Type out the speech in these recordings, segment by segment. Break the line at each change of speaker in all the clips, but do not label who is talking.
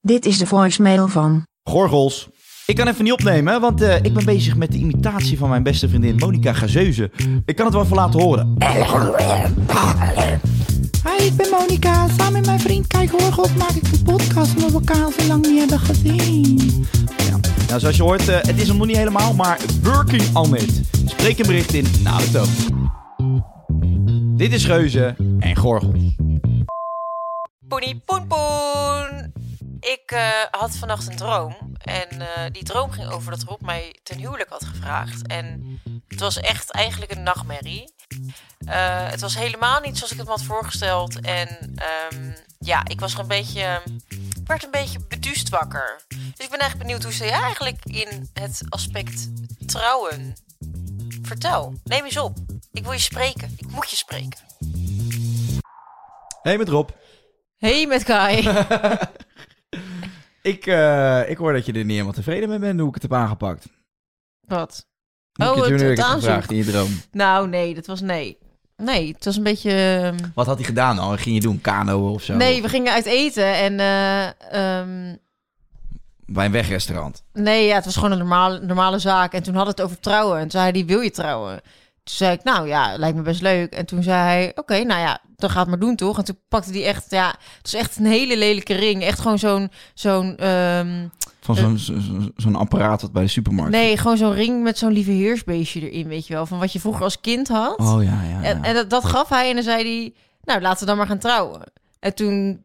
Dit is de voicemail van.
Gorgels. Ik kan even niet opnemen, hè, want eh, ik ben bezig met de imitatie van mijn beste vriendin Monica Gazeuze. Ik kan het wel even laten horen.
Hi, ik ben Monika. Samen met mijn vriend Kijk Horgels maak ik een podcast omdat we elkaar al zo lang niet hebben gezien.
Nou, zoals je hoort, eh, het is hem nog niet helemaal, maar working on it. Spreek een bericht in na de toon. Dit is Geuze en Gorgels.
Poenie poen poen. Ik eh, had vannacht een droom. En eh, die droom ging over dat Rob mij ten huwelijk had gevraagd. En het was echt eigenlijk een nachtmerrie. Eh, het was helemaal niet zoals ik het me had voorgesteld. En ehm, ja, ik was er een beetje, werd een beetje beduust wakker. Dus ik ben echt benieuwd hoe ze eigenlijk in het aspect trouwen. Vertel, neem eens op. Ik wil je spreken. Ik moet je spreken.
Hey, met Rob.
Hey met Kai.
Ik, eh, ik hoor dat je er niet helemaal tevreden mee bent hoe ik het heb aangepakt.
Wat?
Hoe
Oh,
ik je
het-
toen
het
heb
aanzoek.
gevraagd in je droom.
Nou, nee, dat was nee. Nee, het was een beetje. ehm,
Wat had hij gedaan dan? Wat ging je doen? Kano of zo?
Nee, we gingen uit eten en. eh, ehm,
Bij een wegrestaurant.
nee, ja, het was gewoon een normale, normale zaak. En toen hadden we het over trouwen. En toen zei hij: Wil je trouwen? Toen zei ik: Nou ja, lijkt me best leuk. En toen zei hij: Oké, nou ja, dan gaat het maar doen toch? En toen pakte hij echt, ja, het was echt een hele lelijke ring. Echt gewoon zo'n. zo'n ehm,
Van zo'n zo'n- zo'n apparaat wat bij de supermarkt.
nee, gewoon zo'n ring met zo'n lieve heersbeestje erin, weet je wel. Van wat je vroeger als kind had.
Oh ja, ja. ja.
En, en dat, dat gaf hij en dan zei hij, nou laten we dan maar gaan trouwen. En toen,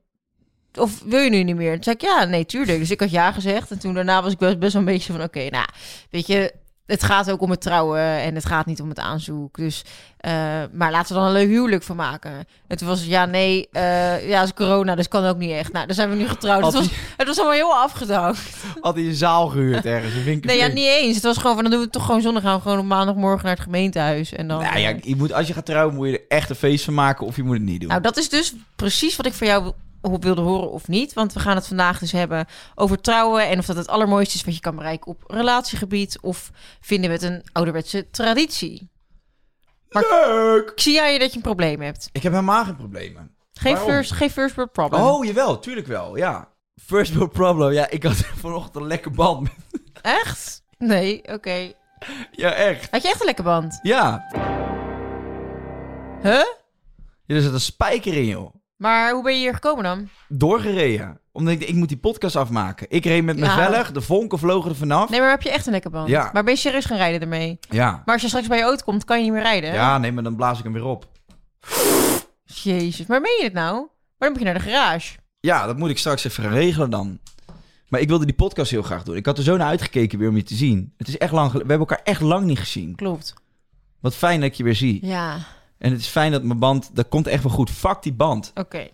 of wil je nu niet meer? Toen zei ik, ja, nee, tuurlijk. Dus ik had ja gezegd. En toen daarna was ik best, best wel een beetje van, oké, nou, weet je, het gaat ook om het trouwen en het gaat niet om het aanzoek. Dus, eh, maar laten we dan een leuk huwelijk van maken. En toen was het, ja, nee, eh, ja, het is corona, dus kan ook niet echt. Nou, dan zijn we nu getrouwd. Het
Had
was,
hij-
het was allemaal heel afgedaan.
Had hij een zaal gehuurd ergens? Een winkel?
Nee, ja, niet eens. Het was gewoon van, dan doen we het toch gewoon zondag. Gaan we gewoon op maandagmorgen naar het gemeentehuis. En dan,
Nou ja,
eh,
je moet, als je gaat trouwen moet je er echt een feest van maken of je moet het niet doen.
Nou, dat is dus precies wat ik van jou wil- wilde horen of niet. Want we gaan het vandaag dus hebben over trouwen... en of dat het allermooiste is wat je kan bereiken op relatiegebied... of vinden we het een ouderwetse traditie.
Leuk!
Ik zie aan je dat je een probleem hebt.
Ik heb helemaal geen problemen.
Geen
Waarom?
first, geen first world problem.
Oh, jawel, tuurlijk wel, ja. First world problem, ja, ik had vanochtend een lekker band. met-
Echt? Nee, oké.
Ja, echt.
Had je echt een lekker band?
Ja.
Huh?
Ja, er zat een spijker in, joh.
Maar hoe ben je hier gekomen dan?
Doorgereden. Omdat ik, ik moet die podcast afmaken. Ik reed met mijn
Ja.
velg, de vonken vlogen er vanaf.
Nee, maar heb je echt een lekker band?
Ja.
Maar ben je serieus gaan rijden ermee?
Ja.
Maar als je straks bij je auto komt, kan je niet meer rijden? hè?
Ja, nee, maar dan blaas ik hem weer op.
Jezus, maar meen je het nou? Maar dan moet je naar de garage.
Ja, dat moet ik straks even gaan regelen dan. Maar ik wilde die podcast heel graag doen. Ik had er zo naar uitgekeken weer om je te zien. Het is echt lang gel- We hebben elkaar echt lang niet gezien.
Klopt.
Wat fijn dat ik je weer zie.
Ja,
En het is fijn dat mijn band... Dat komt echt wel goed. Fuck die band.
oké.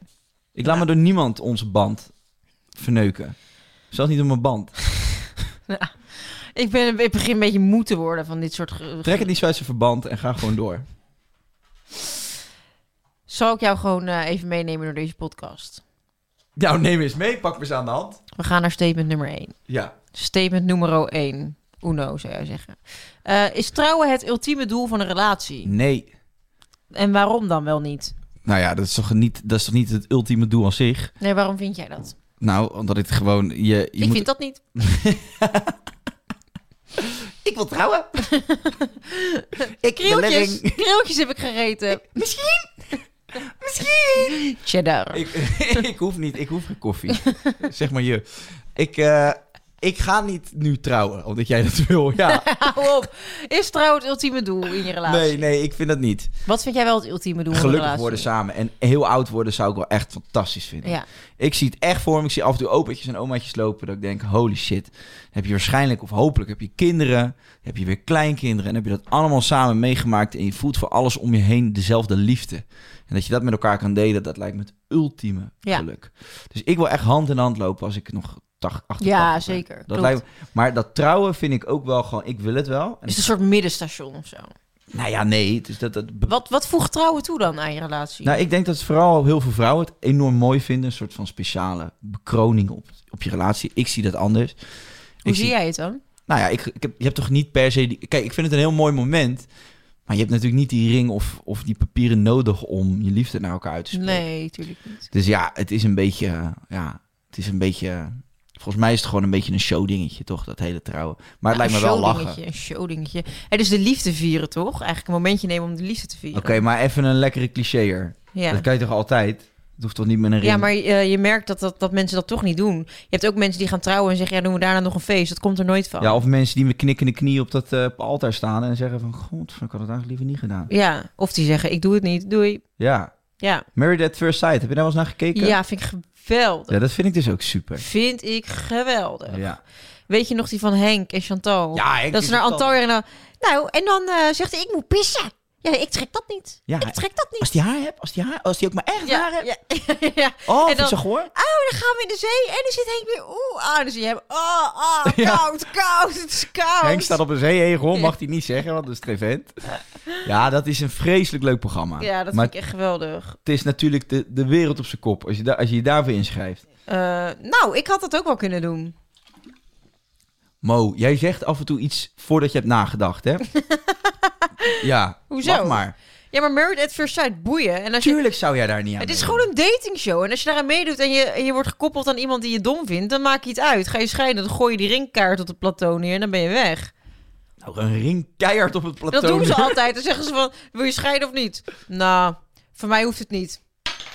Ik laat me door niemand onze band verneuken. Zelfs niet door mijn band.
Ik, ben, ik begin een beetje moe te worden van dit soort... ge-
Trek het niet zo uit zijn verband en ga gewoon door.
Zal ik jou gewoon eh, even meenemen door deze podcast?
Nou, neem eens mee. Pak me eens aan de hand.
We gaan naar statement nummer 1.
Ja.
Statement nummer 1. Uno, zou jij zeggen. Eh, is trouwen het ultieme doel van een relatie?
Nee.
En waarom dan wel niet?
Nou ja, dat is toch niet, dat is toch niet het ultieme doel aan zich?
Nee, waarom vind jij dat?
Nou, omdat het gewoon... Je, je
ik
moet...
vind dat niet.
Ik wil trouwen. ik
Krieltjes, krieltjes heb ik gegeten.
Misschien. Misschien.
Cheddar.
Ik, ik hoef niet, ik hoef geen koffie. zeg maar je. Ik, eh, ik ga niet nu trouwen, omdat jij dat wil. Ja.
Hou op. Is trouw het ultieme doel in je relatie?
Nee, nee, ik vind dat niet.
Wat vind jij wel het ultieme doel in een
Gelukkig
relatie?
worden samen en heel oud worden zou ik wel echt fantastisch vinden.
Ja.
Ik zie het echt voor me. Ik zie af en toe opaatjes en omaatjes lopen. Dat ik denk, holy shit. Dan Heb je waarschijnlijk of hopelijk heb je kinderen. dan Heb je weer kleinkinderen. En heb je dat allemaal samen meegemaakt. En je voelt voor alles om je heen dezelfde liefde. En dat je dat met elkaar kan delen. Dat lijkt me het ultieme
Ja.
geluk. Dus ik wil echt hand in hand lopen als ik nog... 80, 80
Ja,
ben.
zeker.
Dat
Klopt.
lijkt, me- maar dat trouwen vind ik ook wel gewoon... Ik wil het wel. En
Is het een soort middenstation of zo?
nou ja, nee. Dus dat, dat be-
Wat, wat voegt trouwen toe dan aan je relatie?
Nou, ik denk dat vooral heel veel vrouwen het enorm mooi vinden. Een soort van speciale bekroning op, op je relatie. Ik zie dat anders.
Hoe
ik
zie jij het dan?
Nou ja, ik, ik heb, je hebt toch niet per se... Die, kijk, ik vind het een heel mooi moment. Maar je hebt natuurlijk niet die ring of, of die papieren nodig om je liefde naar elkaar uit te spreken.
Nee, tuurlijk niet.
Dus ja, het is een beetje... eh, Ja, het is een beetje... eh, Volgens mij is het gewoon een beetje een showdingetje, toch? Dat hele trouwen. Maar het
Ja,
lijkt me wel
Een
lachen.
showdingetje, een showdingetje. En dus de liefde vieren, toch? Eigenlijk een momentje nemen om de liefde te vieren.
Oké, maar even een lekkere clichéer.
Ja.
Dat kan je toch altijd? Het hoeft toch niet met een ring?
Ja, maar eh, je merkt dat, dat, dat mensen dat toch niet doen. Je hebt ook mensen die gaan trouwen en zeggen... ja, doen we daarna nog een feest. Dat komt er nooit van.
Ja, of mensen die met knikkende knie op dat eh, op altaar staan en zeggen van... God, ik had het eigenlijk liever niet gedaan.
Ja, of die zeggen, ik doe het niet, doei.
Ja.
Ja,
Married at First Sight, heb je daar wel eens naar gekeken?
ja vind ik geweldig.
Ja, dat vind ik dus ook super.
Vind ik geweldig.
Ja.
Weet je nog die van Henk en Chantal?
Ja, Henk
dat
en
ze naar
Chantal.
Antalya en dan... Nou, en dan eh, zegt hij, ik moet pissen. Ja, ik trek dat niet.
Ja,
ik trek dat niet.
Als die haar hebt, als die, haar, als die ook maar echt haar
ja,
hebt.
ja, ja.
Oh,
en
vind je
dan,
zo goor?
Oh, dan gaan we in de zee. En dan zit Henk weer... Oeh, ah, dan zie je hem... Oh, ah, koud, koud, het is koud.
Henk staat op een zeeegel, mag hij niet zeggen, want dat is trevent. Ja, dat is een vreselijk leuk programma.
Ja, dat
maar
vind ik echt geweldig.
het is natuurlijk de, de wereld op zijn kop als je, daar als je je daarvoor inschrijft.
Eh, nou, ik had dat ook wel kunnen doen.
Mo, jij zegt af en toe iets voordat je hebt nagedacht, hè? ja,
Hoezo?
wacht maar.
Ja, maar Married at First Sight, boeien. En als je,
Tuurlijk zou jij daar niet aan
het is
meedoen.
gewoon een datingshow. En als je daaraan meedoet en je, en je wordt gekoppeld aan iemand die je dom vindt... dan maak je het uit. Ga je scheiden, dan gooi je die ringkaart op de plateau neer... en dan ben je weg.
Nou, een ring keihard op het plateau.
Dat doen ze
neer.
altijd. Dan zeggen ze van, wil je scheiden of niet? Nou, voor mij hoeft het niet.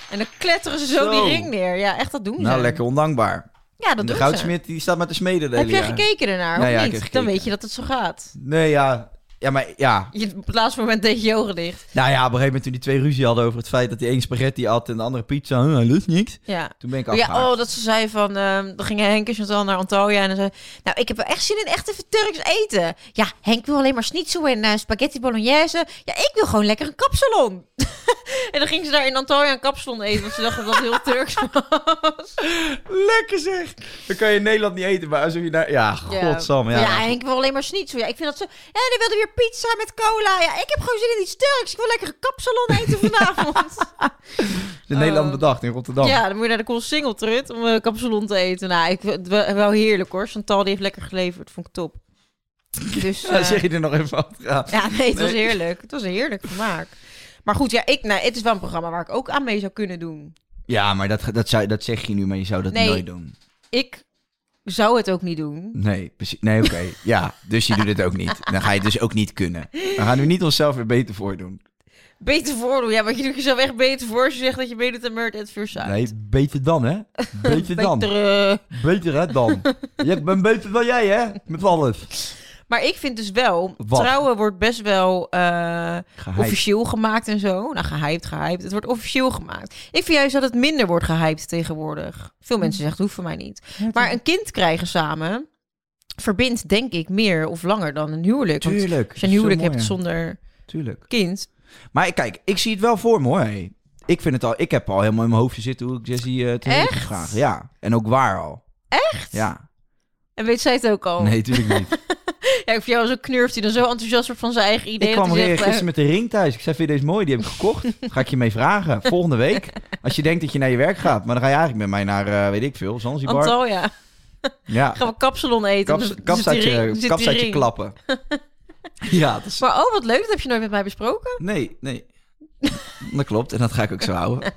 En dan kletteren ze zo,
Zo.
die ring neer. Ja, echt, dat doen ze.
Nou, lekker ondankbaar.
Ja,
En
dat
de
doen ze.
goudsmid die staat met de smeden de
Heb
hele
jij
jaar.
gekeken ernaar,
Ja,
of
ja, ik heb
niet? Dan
gekeken.
weet je dat het zo gaat.
Nee, ja. Ja, maar ja.
Je, op het laatste moment deed je je ogen dicht.
Nou ja, op een gegeven moment toen die twee ruzie hadden over het feit dat die één spaghetti had en de andere pizza, huh, hij lust niks.
Ja.
Toen ben ik
Oh
afgehaakt.
Ja, oh, dat ze zei van... ehm dan gingen Henk en Chantal naar Antalya en dan zei... Nou, ik heb wel echt zin in echt even Turks eten. Ja, Henk wil alleen maar schnitzel en eh, spaghetti bolognese. Ja, ik wil gewoon lekker een kapsalon. en dan ging ze daar in Antalya een kapsalon eten... want ze dachten dat het heel Turks was.
Lekker zeg! Dan kan je in Nederland niet eten, maar als je naar... Ja, godsam. Ja.
Henk wil alleen maar schnitzel. Ja, ik vind dat zo... Ja, dan wilde weer pizza met cola. Ja, ik heb gewoon zin in iets Turks. Ik wil lekker een kapsalon eten vanavond.
Is in Nederland bedacht, in Rotterdam.
Oh. Ja, dan moet je naar de Koolsingeltrut om een kapsalon te eten. Nou, ik, het wel wel heerlijk hoor. Chantal die heeft lekker geleverd. Vond ik top. Dus,
Dan
eh,
zeg je er nog even van. Ja.
ja, nee, het was heerlijk. Het was een heerlijk vermaak. Maar goed, ja, ik, nou, het is wel een programma waar ik ook aan mee zou kunnen doen.
Ja, maar dat, dat, zou, dat zeg je nu, maar je zou dat
Nee.
nooit doen.
Ik zou het ook niet doen.
Nee, precies. Nee, oké. Ja, dus je doet het ook niet. Dan ga je het dus ook niet kunnen. We gaan nu niet onszelf weer beter voordoen.
Beter voordoen. Ja, want je doet jezelf echt beter voor als je zegt dat je meedoet aan Murder at First Sight.
Nee, beter dan, hè? Beter dan.
Beter, eh.
Beter, hè, dan. Ik ben beter dan jij, hè? Met alles.
Maar ik vind dus wel,
Wat?
trouwen wordt best wel eh,
Gehyped.
officieel gemaakt en zo. Nou, gehyped, gehyped. Het wordt officieel gemaakt. Ik vind juist dat het minder wordt gehyped tegenwoordig. Veel mensen zeggen, het hoeft voor mij niet. Maar een kind krijgen samen verbindt, denk ik, meer of langer dan een huwelijk. Want
Tuurlijk,
Als je een
is veel
huwelijk hebt
mooier.
zonder
Tuurlijk.
kind.
Maar kijk, ik zie het wel voor me, hoor. hé. Ik, vind het al, ik heb al helemaal in mijn hoofdje zitten hoe ik Jessie eh te huwelijk ga
Echt?
vragen. Ja, en ook waar al.
Echt?
Ja.
En weet zij het ook al?
Nee, tuurlijk niet.
Ja, ik vind jou zo knurft hij dan zo enthousiast wordt van zijn eigen idee.
ik
dat
kwam
hij zegt,
gisteren
eh,
met de ring thuis. Ik zei, vind je deze mooi? Die heb ik gekocht. Ga ik je mee vragen. Volgende week. Als je denkt dat je naar je werk gaat. Maar dan ga je eigenlijk met mij naar, eh, weet ik veel, Zanzibar.
Antalya,
ja.
gaan we kapsalon eten.
Kaps,
Dan zit die ring-
kapstaatje,
zit die
kapstaatje
ring.
klappen. Ja, dat is...
Maar oh, wat leuk, dat heb je nooit met mij besproken.
Nee, nee. Dat klopt. En dat ga ik ook zo houden.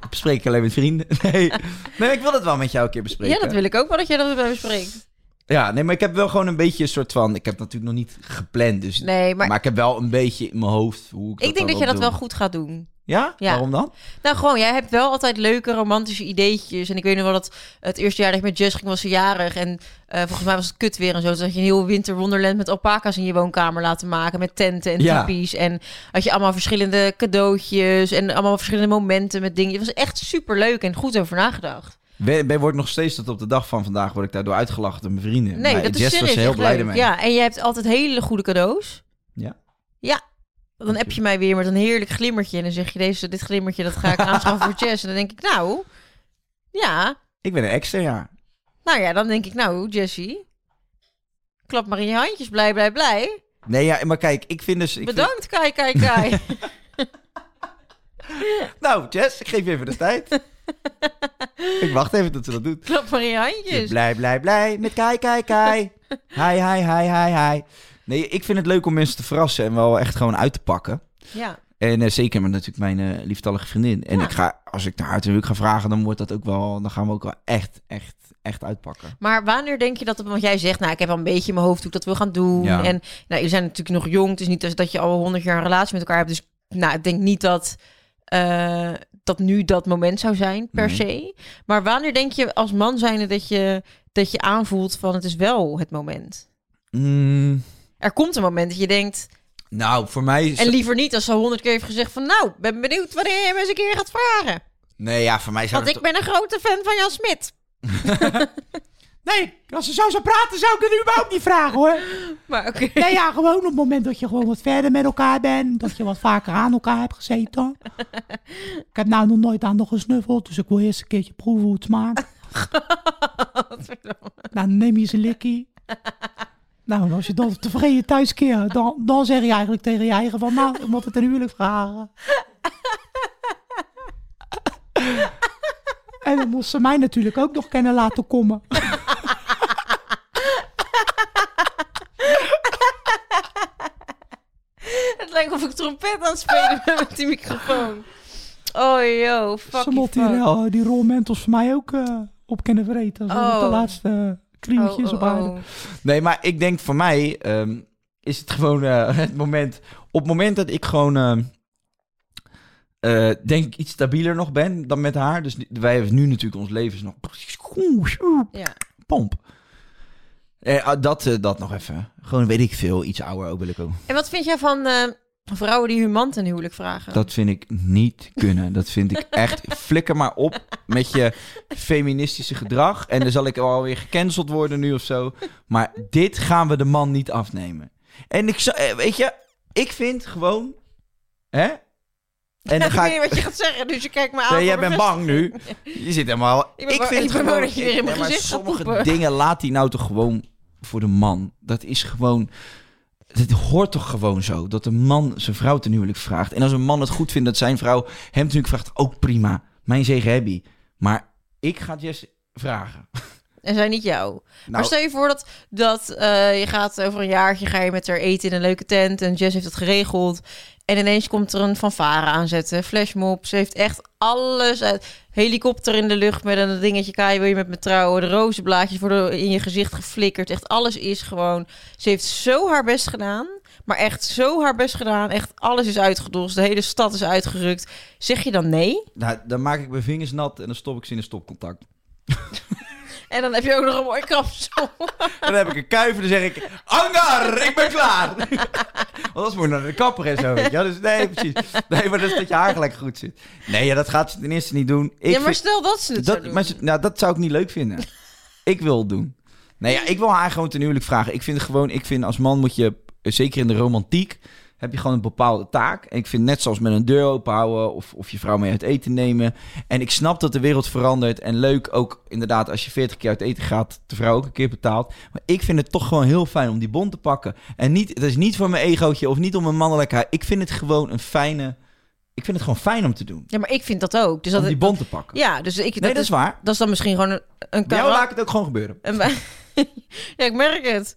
Dat bespreek ik alleen met vrienden. Nee, nee ik wil het wel met jou een keer bespreken.
Ja, dat wil ik ook wel dat jij dat met mij bespreekt.
Ja, nee, maar ik heb wel gewoon een beetje een soort van... Ik heb natuurlijk nog niet gepland, dus...
Nee, maar
ik heb wel een beetje in mijn hoofd hoe ik,
ik denk dat
dan
je dat
wil
wel
doen.
goed gaat doen.
Ja?
Ja.
Waarom dan?
Nou, gewoon, jij hebt wel altijd leuke romantische ideetjes. En ik weet nog wel dat het eerste jaar dat ik met Jess ging, was ze jarig. En eh, volgens mij was het kut weer en zo. Dus had je een heel winter wonderland met alpaca's in je woonkamer laten maken. Met tenten en
Ja.
typies. En had je allemaal verschillende cadeautjes. En allemaal verschillende momenten met dingen. Het was echt super leuk en goed over nagedacht.
Ben, ben- word ik nog steeds tot op de dag van vandaag word ik daardoor uitgelachen door mijn vrienden.
Nee,
maar
dat
Jess
is serieus
was er heel
echt
blij
leuk.
mee.
Ja, en je hebt altijd hele goede cadeaus.
Ja.
Ja. Dan app je mij weer met een heerlijk glimmertje. En dan zeg je, deze, dit glimmertje, dat ga ik aanschaffen voor Jess. En dan denk ik, nou, ja,
Ik ben een extra jaar.
Nou ja, dan denk ik, nou, Jessie, klap maar in je handjes, blij, blij, blij.
Nee, ja, maar kijk, ik vind dus... Ik vind-
Bedankt, kai, kai, kai.
nou, Jess, ik geef je even de tijd. ik wacht even tot ze dat doet.
klap maar in je
Je
handjes.
blij, blij, blij met kai, kai, kai. Hi, hi, hi, hi, hi. Nee, ik vind het leuk om mensen te verrassen en wel echt gewoon uit te pakken.
Ja,
En eh, zeker met natuurlijk mijn eh, lieftallige vriendin. En
Ja.
ik ga, als ik naar haar natuurlijk ga vragen, dan wordt dat ook wel, dan gaan we ook wel echt, echt, echt uitpakken.
maar wanneer denk je dat, het- want jij zegt, nou, ik heb al een beetje in mijn hoofd hoe ik dat wil gaan doen.
Ja.
En nou, jullie zijn natuurlijk nog jong, het is niet dat je al honderd jaar een relatie met elkaar hebt. Dus nou, ik denk niet dat, eh, dat nu dat moment zou zijn, per
Nee.
se. Maar wanneer denk je als man zijnde dat je, dat je aanvoelt van het is wel het moment?
Mm,
Er komt een moment dat je denkt,
nou, voor mij is...
En liever niet als ze honderd keer heeft gezegd van... nou, ben benieuwd wanneer je hem eens een keer gaat vragen.
Nee, ja, voor mij zou
Want ik
het-
ben een grote fan van Jan Smit.
Nee, als ze zo zou praten, zou ik het überhaupt niet vragen hoor.
Maar oké.
Nee, ja, gewoon op het moment dat je gewoon wat verder met elkaar bent. Dat je wat vaker aan elkaar hebt gezeten. Ik heb nou nog nooit aan nog gesnuffeld, dus ik wil eerst een keertje proeven hoe het smaakt. Nou, dan neem je eens een likkie. Nou, en als je dan tevreden thuis keert, dan, dan zeg je eigenlijk tegen je eigen van... Nou, ik moet het een huwelijk vragen. En dan moest ze mij natuurlijk ook nog kennen laten komen.
Het lijkt of ik trompet aan het spelen ben met die microfoon. Oh yo, fuck
Ze moet die, eh, die rolmentels voor mij ook eh, op kunnen vreten. Zo met
Oh.
de laatste krieltjes op aarde.
Nee, maar ik denk voor mij ehm, is het gewoon eh, het moment. Op het moment dat ik gewoon. ehm, eh, denk ik iets stabieler nog ben dan met haar. Dus wij hebben nu natuurlijk ons leven is nog.
Ja.
Pomp. Eh, ah, dat, eh, dat nog even. Gewoon weet ik veel. Iets ouder ook wil ik ook.
En wat vind jij van eh, vrouwen die hun man ten huwelijk vragen?
Dat vind ik niet kunnen. Dat vind ik echt. Flikker maar op met je feministische gedrag. En dan zal ik alweer gecanceld worden nu of zo. Maar dit gaan we de man niet afnemen. En ik zou, eh, weet je, ik vind gewoon. Hè? En dan
Nou, ik
ga
weet niet
ik.
wat je gaat zeggen, dus je kijkt me aan.
Nee, jij
voor de
bent
rest.
bang nu. Je zit helemaal.
ben bang- dus. ik ben bang dat je weer in mijn
Ja, maar
gezicht gaat
sommige
poepen.
dingen laat hij nou toch gewoon voor de man. Dat is gewoon. Het hoort toch gewoon zo dat een man zijn vrouw ten huwelijk vraagt. En als een man het goed vindt dat zijn vrouw hem ten huwelijk vraagt, ook prima. Mijn zegen heb je. Maar ik ga het Jesse vragen.
En zij niet jou. maar
Nou,
stel je voor dat, dat eh, je gaat over een jaartje ga je met haar eten in een leuke tent en Jess heeft het geregeld. En ineens komt er een fanfare aanzetten, flashmob. Ze heeft echt alles uit. Helikopter in de lucht met een dingetje. Kai, wil je met me trouwen? De rozenblaadjes worden in je gezicht geflikkerd. Echt alles is gewoon... Ze heeft zo haar best gedaan. Maar echt zo haar best gedaan. Echt alles is uitgedost. De hele stad is uitgerukt. Zeg je dan nee?
nou, dan maak ik mijn vingers nat en dan stop ik ze in een stopcontact.
En dan heb je ook nog een mooi krapsel.
Dan heb ik een kuif en dan zeg ik... Angar, ik ben klaar! Want anders moet je naar de kapper en zo, weet je wel. Dus nee, precies. Nee, maar dat is dat je haar gelijk goed zit. Nee, ja, dat gaat ze ten eerste niet doen. Ik
Ja, maar
vind-
stel dat ze het zou
dat,
doen.
maar, ze- nou, dat zou ik niet leuk vinden. ik wil het doen. Nee, ja, ik wil haar gewoon ten huwelijk vragen. Ik vind het gewoon... Ik vind als man moet je... Zeker in de romantiek... Heb je gewoon een bepaalde taak. En ik vind net zoals met een deur open houden... Of, of je vrouw mee uit eten nemen... En ik snap dat de wereld verandert. En leuk ook inderdaad als je 40 keer uit eten gaat, de vrouw ook een keer betaalt. Maar ik vind het toch gewoon heel fijn om die bon te pakken. En niet, het is niet voor mijn egootje of niet om mijn mannelijkheid. Ik vind het gewoon een fijne... Ik vind het gewoon fijn om te doen.
Ja, maar ik vind dat ook. Dus
om
dat,
die bon te pakken.
Ja, dus ik.
nee, dat is waar.
Dat is dan misschien gewoon een, een
Bij jou
karak-
laat ik het ook gewoon gebeuren.
een bij- ja, ik merk het.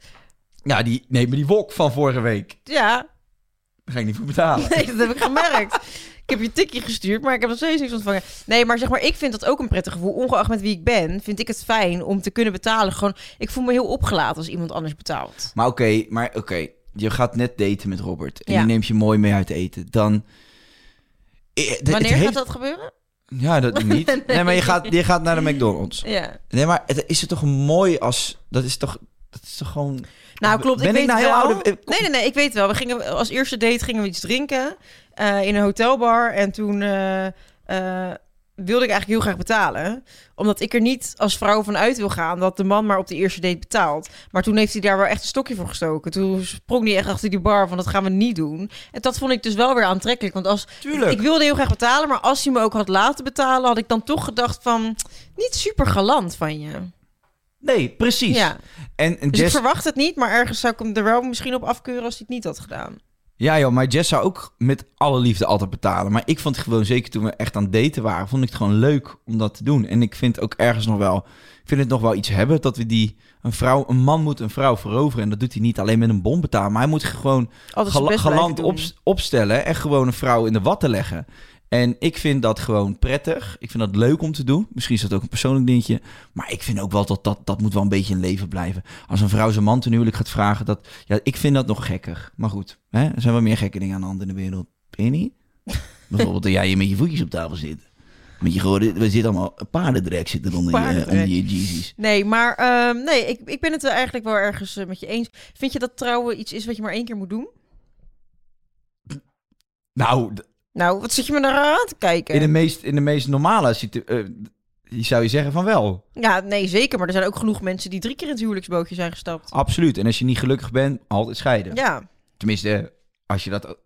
Ja, die, nee, maar die wok van vorige week.
Ja,
Daar ga ik niet voor betalen.
nee, dat heb ik gemerkt. Ik heb je tikkie gestuurd, maar ik heb nog steeds niks ontvangen. Nee, maar zeg maar, ik vind dat ook een prettig gevoel. Ongeacht met wie ik ben, vind ik het fijn om te kunnen betalen. Gewoon, ik voel me heel opgelaten als iemand anders betaalt.
Maar oké, maar oké. Je gaat net daten met Robert. En
Ja.
je neemt je mooi mee uit eten. Dan eh, het
Wanneer gaat
heeft-
dat gebeuren?
Ja, dat niet. nee. maar je gaat, je gaat naar de McDonald's.
Ja.
Nee, maar het, is het toch mooi als... Dat is toch, dat is toch gewoon...
Nou, klopt.
Ben
ik
ik
weet
nou heel
wel.
oude- eh,
Nee, nee, nee. Ik weet wel. We gingen als eerste date gingen we iets drinken eh, in een hotelbar en toen eh, eh, wilde ik eigenlijk heel graag betalen, omdat ik er niet als vrouw van uit wil gaan dat de man maar op de eerste date betaalt. Maar toen heeft hij daar wel echt een stokje voor gestoken. Toen sprong hij echt achter die bar van dat gaan we niet doen. En dat vond ik dus wel weer aantrekkelijk, want als
Tuurlijk.
ik wilde heel graag betalen, maar als hij me ook had laten betalen, had ik dan toch gedacht van niet super galant van je.
Nee, precies.
Ja.
En, en
Dus
Jess...
ik verwacht het niet, maar ergens zou ik hem er wel misschien op afkeuren als hij het niet had gedaan.
Ja joh, maar Jess zou ook met alle liefde altijd betalen. Maar ik vond het gewoon, zeker toen we echt aan het daten waren... vond ik het gewoon leuk om dat te doen. En ik vind ook ergens nog wel... Ik vind het nog wel iets hebben dat we die... Een, vrouw, een man moet een vrouw veroveren. En dat doet hij niet alleen met een bom betalen. Maar hij moet gewoon
Altijd zijn
gela-
best
galant
blijven doen.
op- opstellen en gewoon een vrouw in de watten leggen. En ik vind dat gewoon prettig. Ik vind dat leuk om te doen. Misschien is dat ook een persoonlijk dingetje. Maar ik vind ook wel dat dat, dat moet wel een beetje in leven blijven. Als een vrouw zijn man ten huwelijk gaat vragen, dat, ja, ik vind dat nog gekker. Maar goed, hè? er zijn wel meer gekke dingen aan de hand in de wereld. Vind je niet? Bijvoorbeeld dat jij hier met je voetjes op tafel zit. Met je gewoon, we zitten allemaal paardendrek zitten onder je, eh,
Paardendrek.
onder je Yeezys.
Nee, maar ehm, nee, ik, ik ben het wel eigenlijk wel ergens eh, met je eens. Vind je dat trouwen iets is wat je maar één keer moet doen?
Nou, d-
Nou, wat zit je me naar aan te kijken?
in de meest, in de meest normale situatie zou je zeggen van wel.
Ja, nee, zeker. Maar er zijn ook genoeg mensen die drie keer in het huwelijksbootje zijn gestapt.
Absoluut. En als je niet gelukkig bent, altijd scheiden.
Ja,
Tenminste, als je dat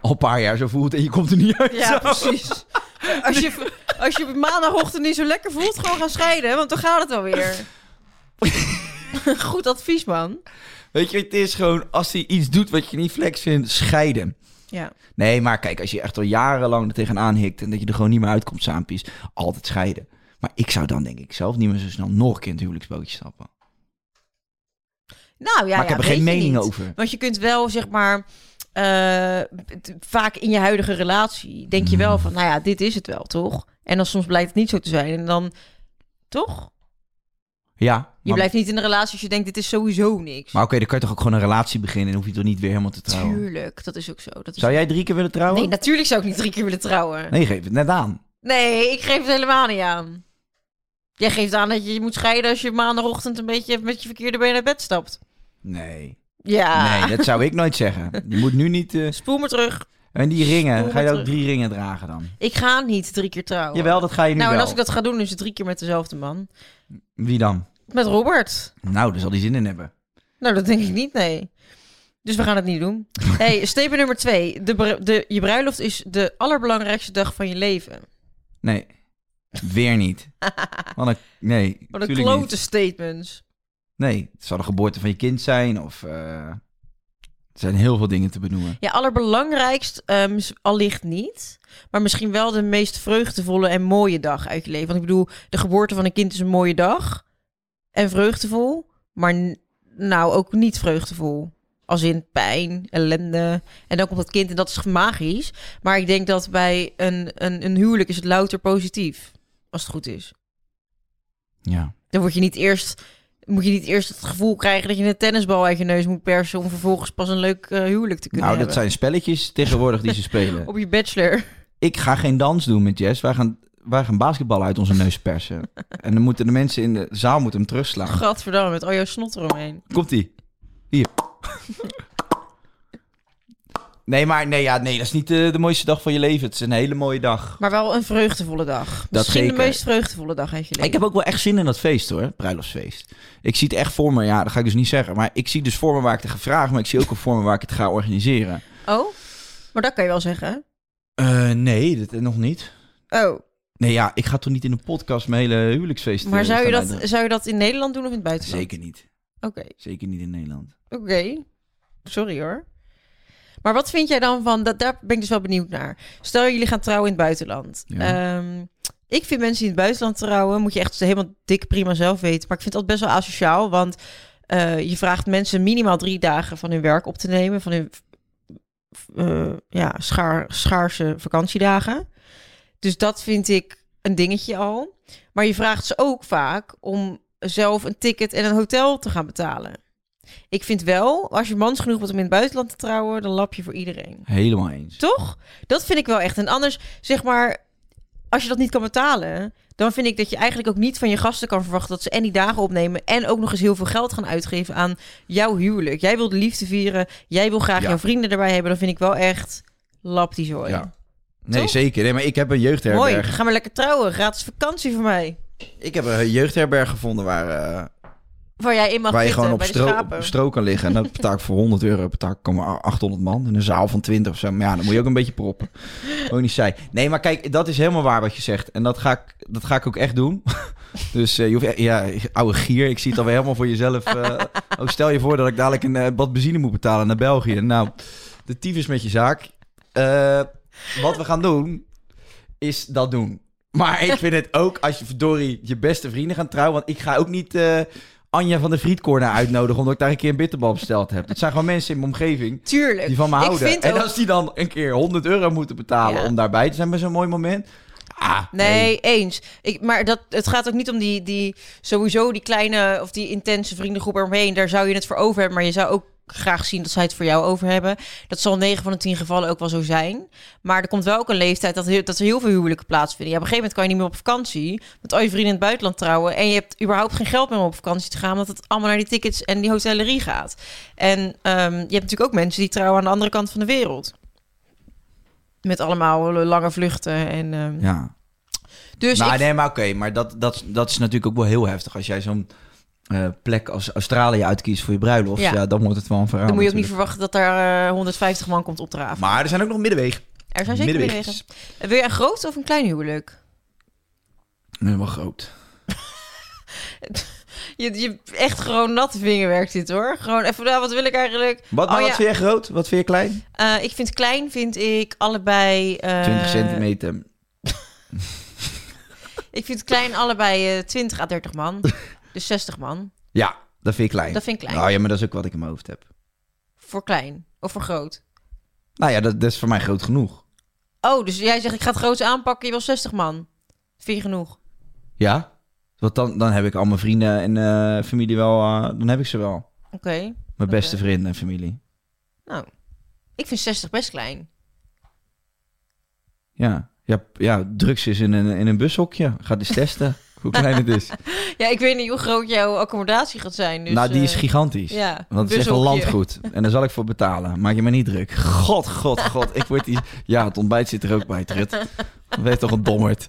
al een paar jaar zo voelt en je komt er niet uit.
ja, precies. Als je, als je op maandagochtend niet zo lekker voelt, gewoon gaan scheiden. Want dan gaat het alweer. Goed advies, man.
Weet je, het is gewoon als hij iets doet wat je niet flex vindt, scheiden.
Ja.
Nee, maar kijk, als je echt al jarenlang er tegenaan hikt en dat je er gewoon niet meer uitkomt, saampies, altijd scheiden. Maar ik zou dan denk ik zelf niet meer zo snel nog een keer in het huwelijksbootje stappen.
Nou ja,
Maar ik
ja,
heb er geen
weet je
mening
niet.
over.
Want je kunt wel, zeg maar, eh, t- vaak in je huidige relatie denk je
Hmm.
wel van, nou ja, dit is het wel, toch? En dan soms blijkt het niet zo te zijn. En dan, toch?
Ja.
Je
maar,
blijft niet in een relatie als je denkt, dit is sowieso niks.
Maar oké, dan kan je toch ook gewoon een relatie beginnen en hoef je toch niet weer helemaal te trouwen.
Tuurlijk, dat is ook zo. Dat is...
Zou jij drie keer willen trouwen?
Nee, natuurlijk zou ik niet drie keer willen trouwen. Nee.
nee, geef het net aan.
ik geef het helemaal niet aan. Jij geeft aan dat je je moet scheiden als je maandagochtend een beetje met je verkeerde been naar bed stapt.
Nee.
Ja,
Nee, dat zou ik nooit zeggen. Je moet nu niet... eh,
spoel me terug.
En die ringen,
Spoel
ga je
maar
ook
terug.
drie ringen dragen dan?
Ik ga niet drie keer trouwen.
Jawel, dat ga je nu
nou, en
wel.
als ik dat ga doen, is het drie keer met dezelfde man.
Wie dan?
Met Robert?
Nou, daar zal die zin in hebben.
Nou, dat denk ik niet, nee. Dus we gaan het niet doen. hey, statement nummer twee. De, br- de, je bruiloft is de allerbelangrijkste dag van je leven.
Nee, weer niet. Wat een... Nee,
Wat een
tuurlijk niet.
klote statement.
Nee, het zal de geboorte van je kind zijn of... eh, Er zijn heel veel dingen te benoemen.
Ja, allerbelangrijkst ehm, is allicht niet. Maar misschien wel de meest vreugdevolle en mooie dag uit je leven. Want ik bedoel, de geboorte van een kind is een mooie dag. En vreugdevol. Maar n- nou, ook niet vreugdevol. Als in pijn, ellende. En dan komt dat kind en dat is magisch. Maar ik denk dat bij een, een, een huwelijk is het louter positief. Als het goed is.
Ja.
Dan word je niet eerst... Moet je niet eerst het gevoel krijgen dat je een tennisbal uit je neus moet persen... om vervolgens pas een leuk eh, huwelijk te kunnen
Nou, dat
hebben.
zijn spelletjes tegenwoordig die ze spelen.
Op je bachelor.
Ik ga geen dans doen met Jess. Wij gaan, wij gaan basketballen uit onze neus persen. En dan moeten de mensen in de zaal moeten hem terugslaan.
Gadverdamme, met al jouw snot eromheen.
Komt-ie. Hier. Nee, maar nee, ja, nee, dat is niet eh, de mooiste dag van je leven. Het is een hele mooie dag.
Maar wel een vreugdevolle dag. Misschien
zeker.
de meest vreugdevolle dag uit je leven.
Ik heb ook wel echt zin in dat feest hoor, het bruiloftsfeest. Ik zie het echt voor me, ja, dat ga ik dus niet zeggen. Maar ik zie dus voor me waar ik het ga vragen, maar ik zie ook wel voor me waar ik het ga organiseren.
Oh? Maar dat kan je wel zeggen.
Eh, nee, dat nog niet.
hè? Oh,
Nee, ja, ik ga toch niet in een podcast mijn hele huwelijksfeest eh,
maar zou je,
gaan
dat,
uitdragen?
zou je dat in Nederland doen of in het buitenland?
Zeker niet.
Oké,
Zeker niet in Nederland.
oké. Sorry hoor. Maar wat vind jij dan van, dat, daar ben ik dus wel benieuwd naar. Stel jullie gaan trouwen in het buitenland.
Ja.
Ehm, ik vind mensen die in het buitenland trouwen, moet je echt helemaal dik prima zelf weten. Maar ik vind dat best wel asociaal, want eh, je vraagt mensen minimaal drie dagen van hun werk op te nemen, van hun eh, ja, schaar, schaarse vakantiedagen. Dus dat vind ik een dingetje al. Maar je vraagt ze ook vaak om zelf een ticket en een hotel te gaan betalen. Ik vind wel, als je mans genoeg wordt om in het buitenland te trouwen, dan lap je voor iedereen.
Helemaal eens.
Toch? Dat vind ik wel echt. En anders, zeg maar, als je dat niet kan betalen, dan vind ik dat je eigenlijk ook niet van je gasten kan verwachten dat ze en die dagen opnemen en ook nog eens heel veel geld gaan uitgeven aan jouw huwelijk. Jij wilt de liefde vieren, jij wil graag
Ja.
jouw vrienden erbij hebben, dan vind ik wel echt lap die zooi.
Ja. Nee,
Toch?
zeker. Nee, maar ik heb een
Mooi,
jeugdherberg.
ga maar lekker trouwen. Gratis vakantie voor mij.
Ik heb een jeugdherberg gevonden waar, eh,
Waar jij in mag
waar je
zitten,
gewoon op
bij de
stro,
schapen.
op stro kan liggen. En dan betaal ik voor 100 euro betaal ik maar 800 man. In een zaal van 20 of zo. Maar ja, dan moet je ook een beetje proppen. Ook niet saai. Nee, maar kijk, dat is helemaal waar wat je zegt. En dat ga ik, dat ga ik ook echt doen. Dus eh, je hoeft, e- ja, oude gier, ik zie het alweer helemaal voor jezelf. eh. oh, stel je voor dat ik dadelijk een eh, bad benzine moet betalen naar België. Nou, de tyfus met je zaak. Eh, wat we gaan doen, is dat doen. Maar ik vind het ook, als je verdorie je beste vrienden gaat trouwen... want ik ga ook niet eh, Anja van de Frietcorner uitnodigen... omdat ik daar een keer een bitterbal besteld heb. Het zijn gewoon mensen in mijn omgeving
Tuurlijk.
die van me
Ik
houden.
vind
En
ook-
als die dan een keer 100 euro moeten betalen...
Ja.
om daarbij te zijn bij zo'n mooi moment... Ah,
Nee, eens. Ik, maar dat, het gaat ook niet om die, die sowieso die kleine of die intense vriendengroep eromheen. Daar zou je het voor over hebben, maar je zou ook graag zien dat zij het voor jou over hebben. Dat zal 9 van de 10 gevallen ook wel zo zijn. Maar er komt wel ook een leeftijd dat, heel- dat er heel veel huwelijken plaatsvinden. Ja, op een gegeven moment kan je niet meer op vakantie. Want al je vrienden in het buitenland trouwen. En je hebt überhaupt geen geld meer om op vakantie te gaan. Omdat het allemaal naar die tickets en die hotellerie gaat. En ehm, je hebt natuurlijk ook mensen die trouwen aan de andere kant van de wereld. Met allemaal lange vluchten. En, ehm,
Ja.
Dus
maar
ik
nee, maar oké, maar dat, dat, dat is natuurlijk ook wel heel heftig. Als jij zo'n eh, plek als Australië uitkiest voor je bruiloft, ja.
Ja.
dan wordt het wel een verhaal.
Dan moet je ook niet
natuurlijk.
verwachten dat daar eh, 150 man komt opdraven.
Maar er zijn ook nog middenwegen.
er zijn zeker
middenweg
middenwegen. Eh, Wil je een groot of een klein huwelijk?
Nee, wel groot.
Je, je echt gewoon natte vingerwerk dit hoor. Gewoon even, nou, wat wil ik eigenlijk?
Wat, maar
Oh,
wat
ja,
vind jij groot? Wat vind je klein?
eh, ik vind klein, vind ik allebei... eh,
20 centimeter.
Ik vind klein allebei eh, 20 à 30 man. dus 60 man.
Ja, dat vind ik klein.
Dat vind ik klein.
Nou ja, maar dat is ook wat ik in mijn hoofd heb.
Voor klein. Of voor groot.
Nou ja, dat, dat is voor mij groot genoeg.
Oh, dus jij zegt ik ga het groots aanpakken. Je wil 60 man. Vind je genoeg?
Ja? Want dan, dan heb ik al mijn vrienden en eh, familie wel, eh, dan heb ik ze wel.
Oké.
Mijn
Oké.
beste vrienden en familie.
Nou, ik vind 60 best klein.
Ja, ja, ja drugs is in een, in een bushokje. Ga eens testen hoe klein het is.
Ja, ik weet niet hoe groot jouw accommodatie gaat zijn. Dus,
nou, die is
eh,
gigantisch.
ja,
Want het is echt een
bushokje.
landgoed. En daar zal ik voor betalen. Maak je me niet druk. God, god, god. Ik word die... Ja, het ontbijt zit er ook bij, Trut. Wees toch een dommerd.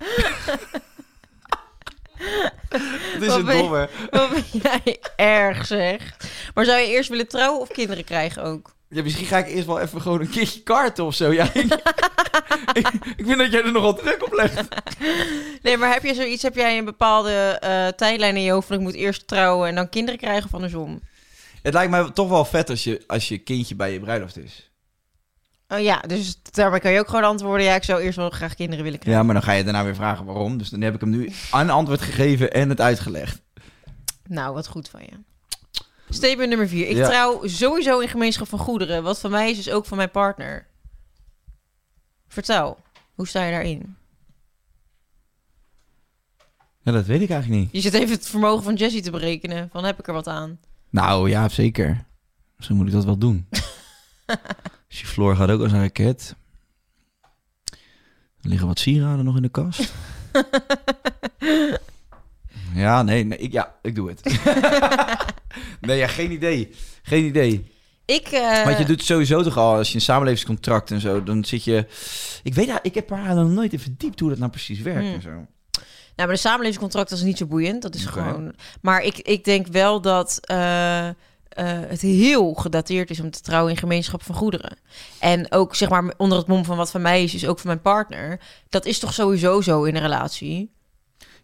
het is
Wat
een
ben je-
dommer.
Wat ben jij erg zeg. Maar zou je eerst willen trouwen of kinderen krijgen ook?
Ja, misschien ga ik eerst wel even gewoon een keertje karten of zo. Ja, ik, ik, ik vind dat jij er nogal druk op legt.
Nee, maar heb jij zoiets? Heb jij een bepaalde eh, tijdlijn in je hoofd van ik moet eerst trouwen en dan kinderen krijgen of andersom?
Het lijkt mij toch wel vet als je, als je kindje bij je bruiloft is.
Oh ja, dus daarmee kan je ook gewoon antwoorden. Ja, ik zou eerst wel graag kinderen willen krijgen.
Ja, maar dan ga je daarna weer vragen waarom. Dus dan heb ik hem nu een antwoord gegeven en het uitgelegd.
Nou, wat goed van je. Statement nummer vier. Ik
Ja.
trouw sowieso in gemeenschap van goederen. Wat van mij is, is ook van mijn partner. Vertel, hoe sta je daarin?
Ja, dat weet ik eigenlijk niet.
Je zit even het vermogen van Jessie te berekenen. Van heb ik er wat aan?
Nou ja, zeker. Misschien moet ik dat wel doen. Floor gaat ook als een raket. Er liggen wat sieraden nog in de kast. ja, nee, nee ik, ja, ik doe het. nee, ja, geen idee. Geen idee.
Ik. eh,
Want je doet sowieso toch al, als je een samenlevingscontract en zo, dan zit je... Ik weet, ik heb haar nog nooit in verdiept hoe dat nou precies werkt
Hmm.
en zo.
Nou, maar de samenlevingscontracten is niet zo boeiend. Dat is
Oké.
gewoon. Maar ik, ik denk wel dat eh, eh, het heel gedateerd is om te trouwen in gemeenschap van goederen. En ook zeg maar onder het mom van wat van mij is, is ook van mijn partner. Dat is toch sowieso zo in een relatie.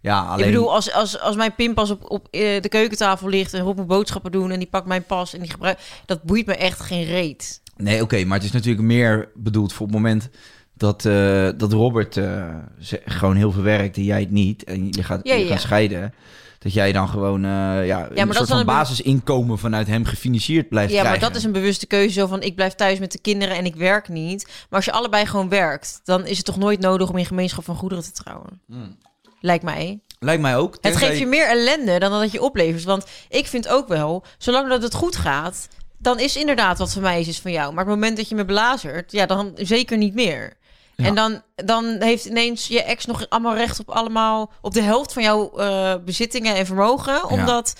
Ja, alleen...
Ik bedoel, als, als, als mijn pinpas op, op eh, de keukentafel ligt en Rob moet boodschappen doen en die pakt mijn pas en die gebruikt. Dat boeit me echt geen reet.
Nee, oké, maar het is natuurlijk meer bedoeld voor het moment dat, eh, dat Robert eh, ze- gewoon heel veel werkt en jij het niet. En je gaat,
Ja,
je
ja.
gaat scheiden. Dat jij dan gewoon eh, ja,
dat
een
is
soort
dan
van
een be-
basisinkomen vanuit hem gefinancierd blijft
Ja, maar
krijgen.
dat is een bewuste keuze. Zo van ik blijf thuis met de kinderen en ik werk niet. Maar als je allebei gewoon werkt, dan is het toch nooit nodig om in gemeenschap van goederen te trouwen. Lijkt mij.
Lijkt mij ook.
Het
tenzij-
geeft je meer ellende dan dat je oplevert. Want ik vind ook wel, zolang dat het goed gaat, dan is inderdaad wat van mij is, is van jou. Maar op het moment dat je me belazert, ja, dan zeker niet meer.
Ja.
En dan, dan heeft ineens je ex nog allemaal recht op allemaal op de helft van jouw eh, bezittingen en vermogen. Omdat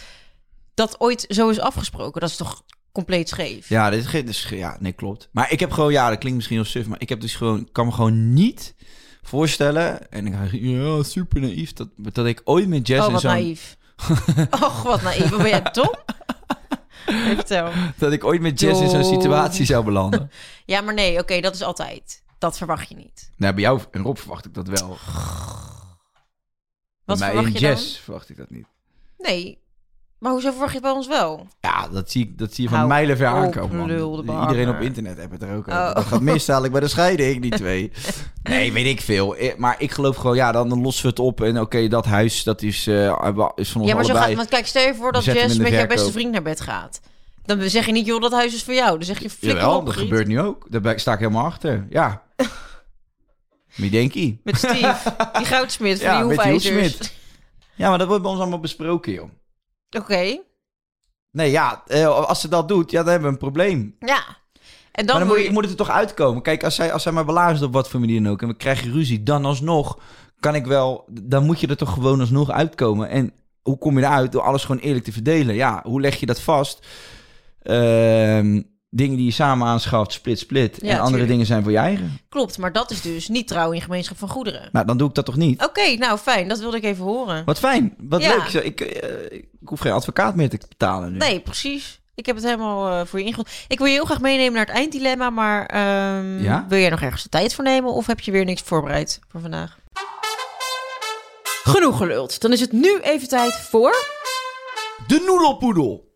dat ooit zo is afgesproken. Dat is toch compleet scheef.
Ja, dit ge- dus, ja, nee, klopt. Maar ik heb gewoon, ja, dat klinkt misschien heel suf, maar ik heb dus gewoon, ik kan me gewoon niet voorstellen. En ik ga ja, super naïef. Dat, dat ik ooit met Jess
oh,
in
wat
zo'n-
naïef. Och, wat naïef. Wat ben jij dom? Even vertel.
dat ik ooit met Jess in zo'n
Doe.
situatie zou belanden.
Ja, maar nee, oké, dat is altijd. Dat verwacht je niet.
nou, bij jou en Rob verwacht ik dat wel.
Wat
bij mij
verwacht
en
je
Jess verwacht ik dat niet.
Nee. Maar hoezo verwacht je het bij ons wel?
Ja, dat zie, ik- dat zie je van
Hou
mijlenver
op,
aankomen. man.
lul de
Iedereen
behanger.
op internet heeft het er ook
Oh.
over. Dat gaat mis dadelijk bij de scheiding, die twee. Nee, weet ik veel. Eh, Maar ik geloof gewoon, ja, dan lossen we het op. En oké, dat huis, dat is, eh, is van ons
ja, maar zo
allebei.
gaat Want kijk, stel je voor dat
Zet hem
Jess
in de
met jouw
verkoop.
beste vriend naar bed gaat. Dan zeg je niet, joh, dat huis is voor jou. Dan zeg je, flikker
Jawel,
op,
dat
Griet.
gebeurt nu ook. Daar ben- sta ik helemaal achter. Ja. Wie denk je?
Met Steve, die goudsmit van
Ja,
die
met die
hoefijzers.
hoefsmid. Ja, maar dat wordt bij ons allemaal besproken, joh.
Oké,
Nee, ja, eh, als ze dat doet, ja, dan hebben we een probleem.
ja.
maar
En dan,
dan moet,
moet
je, moet het er toch uitkomen. Kijk, als zij, als zij maar belazert op wat voor manier dan ook en we krijgen ruzie, dan alsnog kan ik wel... Dan moet je er toch gewoon alsnog uitkomen. En hoe kom je eruit? Door alles gewoon eerlijk te verdelen. Ja, hoe leg je dat vast? Ehm, dingen die je samen aanschaft, split, split. en andere
tuurlijk.
dingen zijn voor je eigen.
Klopt, maar dat is dus niet trouw in gemeenschap van goederen.
Nou, dan doe ik dat toch niet?
Oké, nou fijn, dat wilde ik even horen.
Wat fijn, wat
Ja.
leuk. Zo, Ik, eh, ik hoef geen advocaat meer te betalen nu.
Nee, precies. Ik heb het helemaal eh, voor je ingevuld. Ik wil je heel graag meenemen naar het einddilemma, maar ehm,
Ja?
wil jij nog ergens de tijd voor nemen of heb je weer niks voorbereid voor vandaag? Genoeg geluld. Dan is het nu even tijd voor
De noedelpoedel.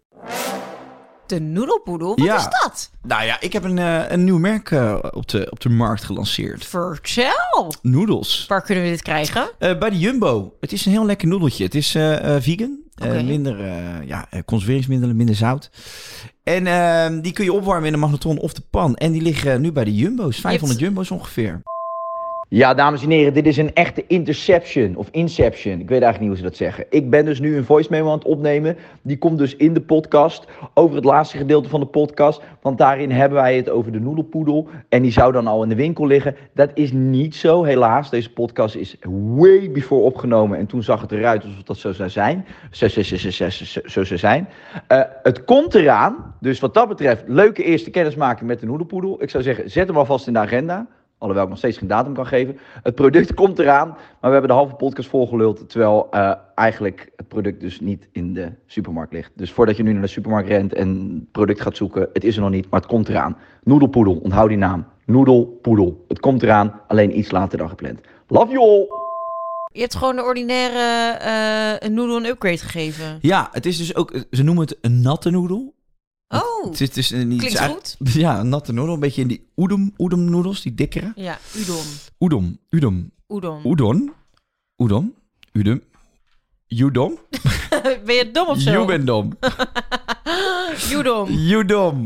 de noedelpoedel. Wat
Ja.
is dat?
Nou ja, ik heb een, eh, een nieuw merk eh, op, de, op de markt gelanceerd.
Vertel.
Noedels.
Waar kunnen we dit krijgen?
Eh, bij de Jumbo. Het is een heel lekker noedeltje. Het is eh, eh, vegan. Eh,
Oké.
minder eh, ja, eh, conserveringsmiddelen, minder zout. En ehm, die kun je opwarmen in de magnetron of de pan. En die liggen nu bij de Jumbo's. 500 Jumbo's ongeveer.
Ja, dames en heren, dit is een echte interception of inception. Ik weet eigenlijk niet hoe ze dat zeggen. Ik ben dus nu een voicemail aan het opnemen. Die komt dus in de podcast over het laatste gedeelte van de podcast. Want daarin hebben wij het over de noedelpoedel. En die zou dan al in de winkel liggen. Dat is niet zo, helaas. Deze podcast is way before opgenomen. En toen zag het eruit alsof dat zo zou zijn. Zo, zo, zo, zo, zo, zo, zo zou zijn. Eh, het komt eraan. Dus wat dat betreft, leuke eerste kennismaking met de noedelpoedel. Ik zou zeggen, zet hem alvast in de agenda. Alhoewel ik nog steeds geen datum kan geven. Het product komt eraan, maar we hebben de halve podcast volgeluld. Terwijl eh, eigenlijk het product dus niet in de supermarkt ligt. Dus voordat je nu naar de supermarkt rent en het product gaat zoeken, het is er nog niet, maar het komt eraan. Noedelpoedel, onthoud die naam. Noedelpoedel. Het komt eraan, alleen iets later dan gepland. Love you all!
Je hebt gewoon de ordinaire eh een noedel een upgrade gegeven.
Ja, het is dus ook... Ze noemen het een natte noedel.
Oh,
Het is dus een, niet,
Klinkt
het is eigenlijk- Ja, een natte noedel. Een beetje in die oedem, oedem noedels, die dikkere.
ja, udon.
Oedom, oedom,
Udon.
oedon, oedom, udum, judom,
ben je dom of zo?
jubendom,
Udon.
judom.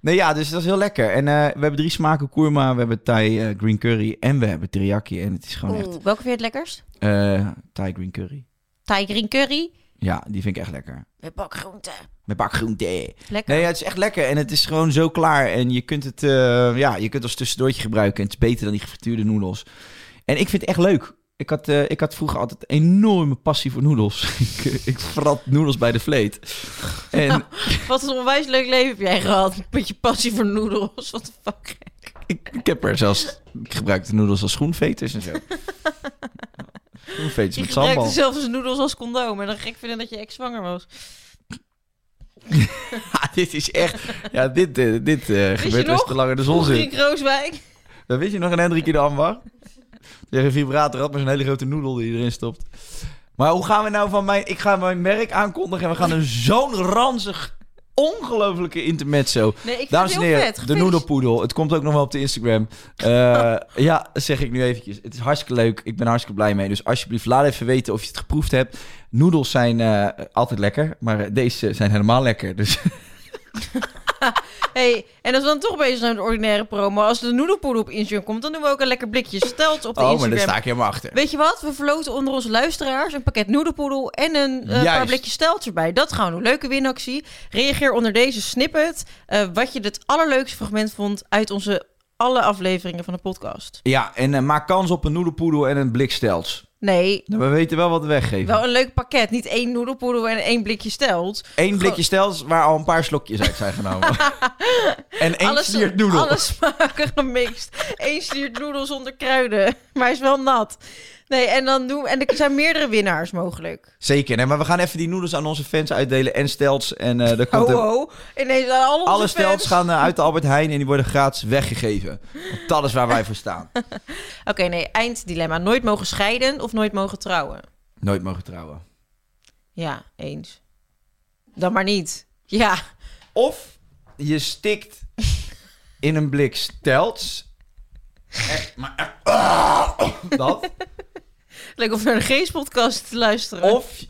Nee, ja, dus dat is heel lekker. En eh, we hebben drie smaken kurma, we hebben Thai eh, green curry en we hebben teriyaki. En het is gewoon echt
Oeh, welke vind je het lekkerst?
eh, Thai green curry.
Thai green curry
Ja, die vind ik echt lekker.
met bakgroenten.
Met bakgroente.
Lekker.
Nee, ja, het is echt lekker en het is gewoon zo klaar. En je kunt het, eh, ja, je kunt het als tussendoortje gebruiken. En het is beter dan die gefrituurde noedels. En ik vind het echt leuk. Ik had, eh, ik had vroeger altijd een enorme passie voor noedels. ik, eh, ik vrat noedels bij de vleet. En
Wat een onwijs leuk leven heb jij gehad. Met je passie voor noedels. Wat de fuck.
ik, ik heb er zelfs... Ik gebruikte noedels als schoenveters en zo. schoenveters
Je
met
gebruikte
sambal.
zelfs noedels als condoom. En dan gek vinden dat je ex zwanger was.
Ja, dit is echt... Ja, dit, eh, dit eh, gebeurt
nog?
best te lang in de zon zit.
Ging Rooswijk.
Dat weet je nog, een Hendrik in de ambar. Die een vibrator had, maar zo'n hele grote noedel die erin stopt. Maar hoe gaan we nou van mijn... Ik ga mijn merk aankondigen en we gaan een zo'n ranzig, ongelofelijke intermezzo.
Nee, ik vind
Dames
het
en
heel
heren,
vet.
de
Gefeliciteerd.
noedelpoedel. Het komt ook nog wel op de Instagram. Eh, ja, dat zeg ik nu eventjes. Het is hartstikke leuk. Ik ben er hartstikke blij mee. Dus alsjeblieft, laat even weten of je het geproefd hebt. Noedels zijn eh, altijd lekker, maar eh, deze zijn helemaal lekker. Dus
Hey, en als we dan toch bezig zijn met de ordinaire promo, als de noedelpoeder op Instagram komt, dan doen we ook een lekker blikje stelt op de
Oh, maar daar
Instagram.
sta ik helemaal achter.
Weet je wat? We verloten onder onze luisteraars een pakket noedelpoedel en een eh, paar
Juist.
blikjes stelt erbij. Dat gaan we doen. Leuke winactie. Reageer onder deze snippet eh, wat je het allerleukste fragment vond uit onze alle afleveringen van de podcast.
Ja, en eh, maak kans op een noedelpoedel en een blik stels.
Nee,
Nou, we weten wel wat we weggeven.
wel een leuk pakket. Niet één noedelpoedel en één blikje stelt.
Eén blikje stels waar al een paar slokjes uit zijn genomen. en één
Alles-
sliert noedel.
Alle smaken gemixt. Eén sliert noedel zonder kruiden. Maar hij is wel nat. Nee, en, dan doen, en er zijn meerdere winnaars mogelijk.
Zeker, nee, maar we gaan even die noedels aan onze fans uitdelen en stels. En eh daar komt
Oh,
er-
oh. Ineens zijn al onze
Alle
fans.
stels gaan eh, uit de Albert Heijn en die worden gratis weggegeven. Want dat is waar wij voor staan.
Oké, nee, einddilemma. Nooit mogen scheiden of nooit mogen trouwen.
Nooit mogen trouwen.
Ja, eens. Dan maar niet. Ja.
Of je stikt in een blik stels. Echt, maar echt. Ah! dat.
Leuk om naar de Geest-podcast te luisteren.
Of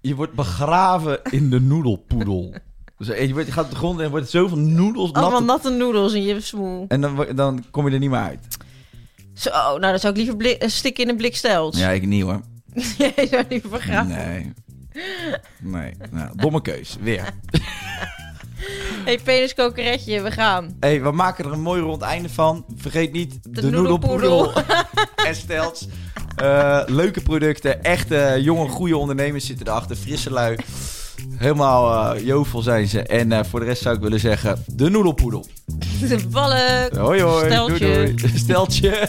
je wordt begraven in de noedelpoedel. Dus eh, je wordt- je gaat op de grond en er wordt zoveel noedels
Allemaal
nat.
natte noedels in je smoel.
En dan, wo- dan kom je er niet meer uit.
Zo, nou, dan zou ik liever blik, eh, stikken in een blik stelt.
Ja, ik niet hoor.
Jij zou liever begraven.
Nee. Nee. Nou, domme keus. Weer.
hey, peniskokeretje, we gaan.
Hé, hey, we maken er een mooi rond einde van. Vergeet niet de,
noedelpoedel.
noedelpoedel, en stels. Eh, leuke producten, echte jonge, goede ondernemers zitten erachter. Frisse lui. Helemaal eh, jovel zijn ze. En eh, voor de rest zou ik willen zeggen, de noedelpoedel.
De balk.
Hoi hoi,
Steltje.
doei doei. Steltje.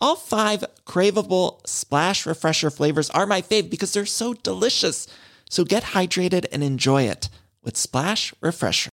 All five craveable splash refresher flavors are my fave because they're so delicious. So get hydrated and enjoy it with Splash Refresher.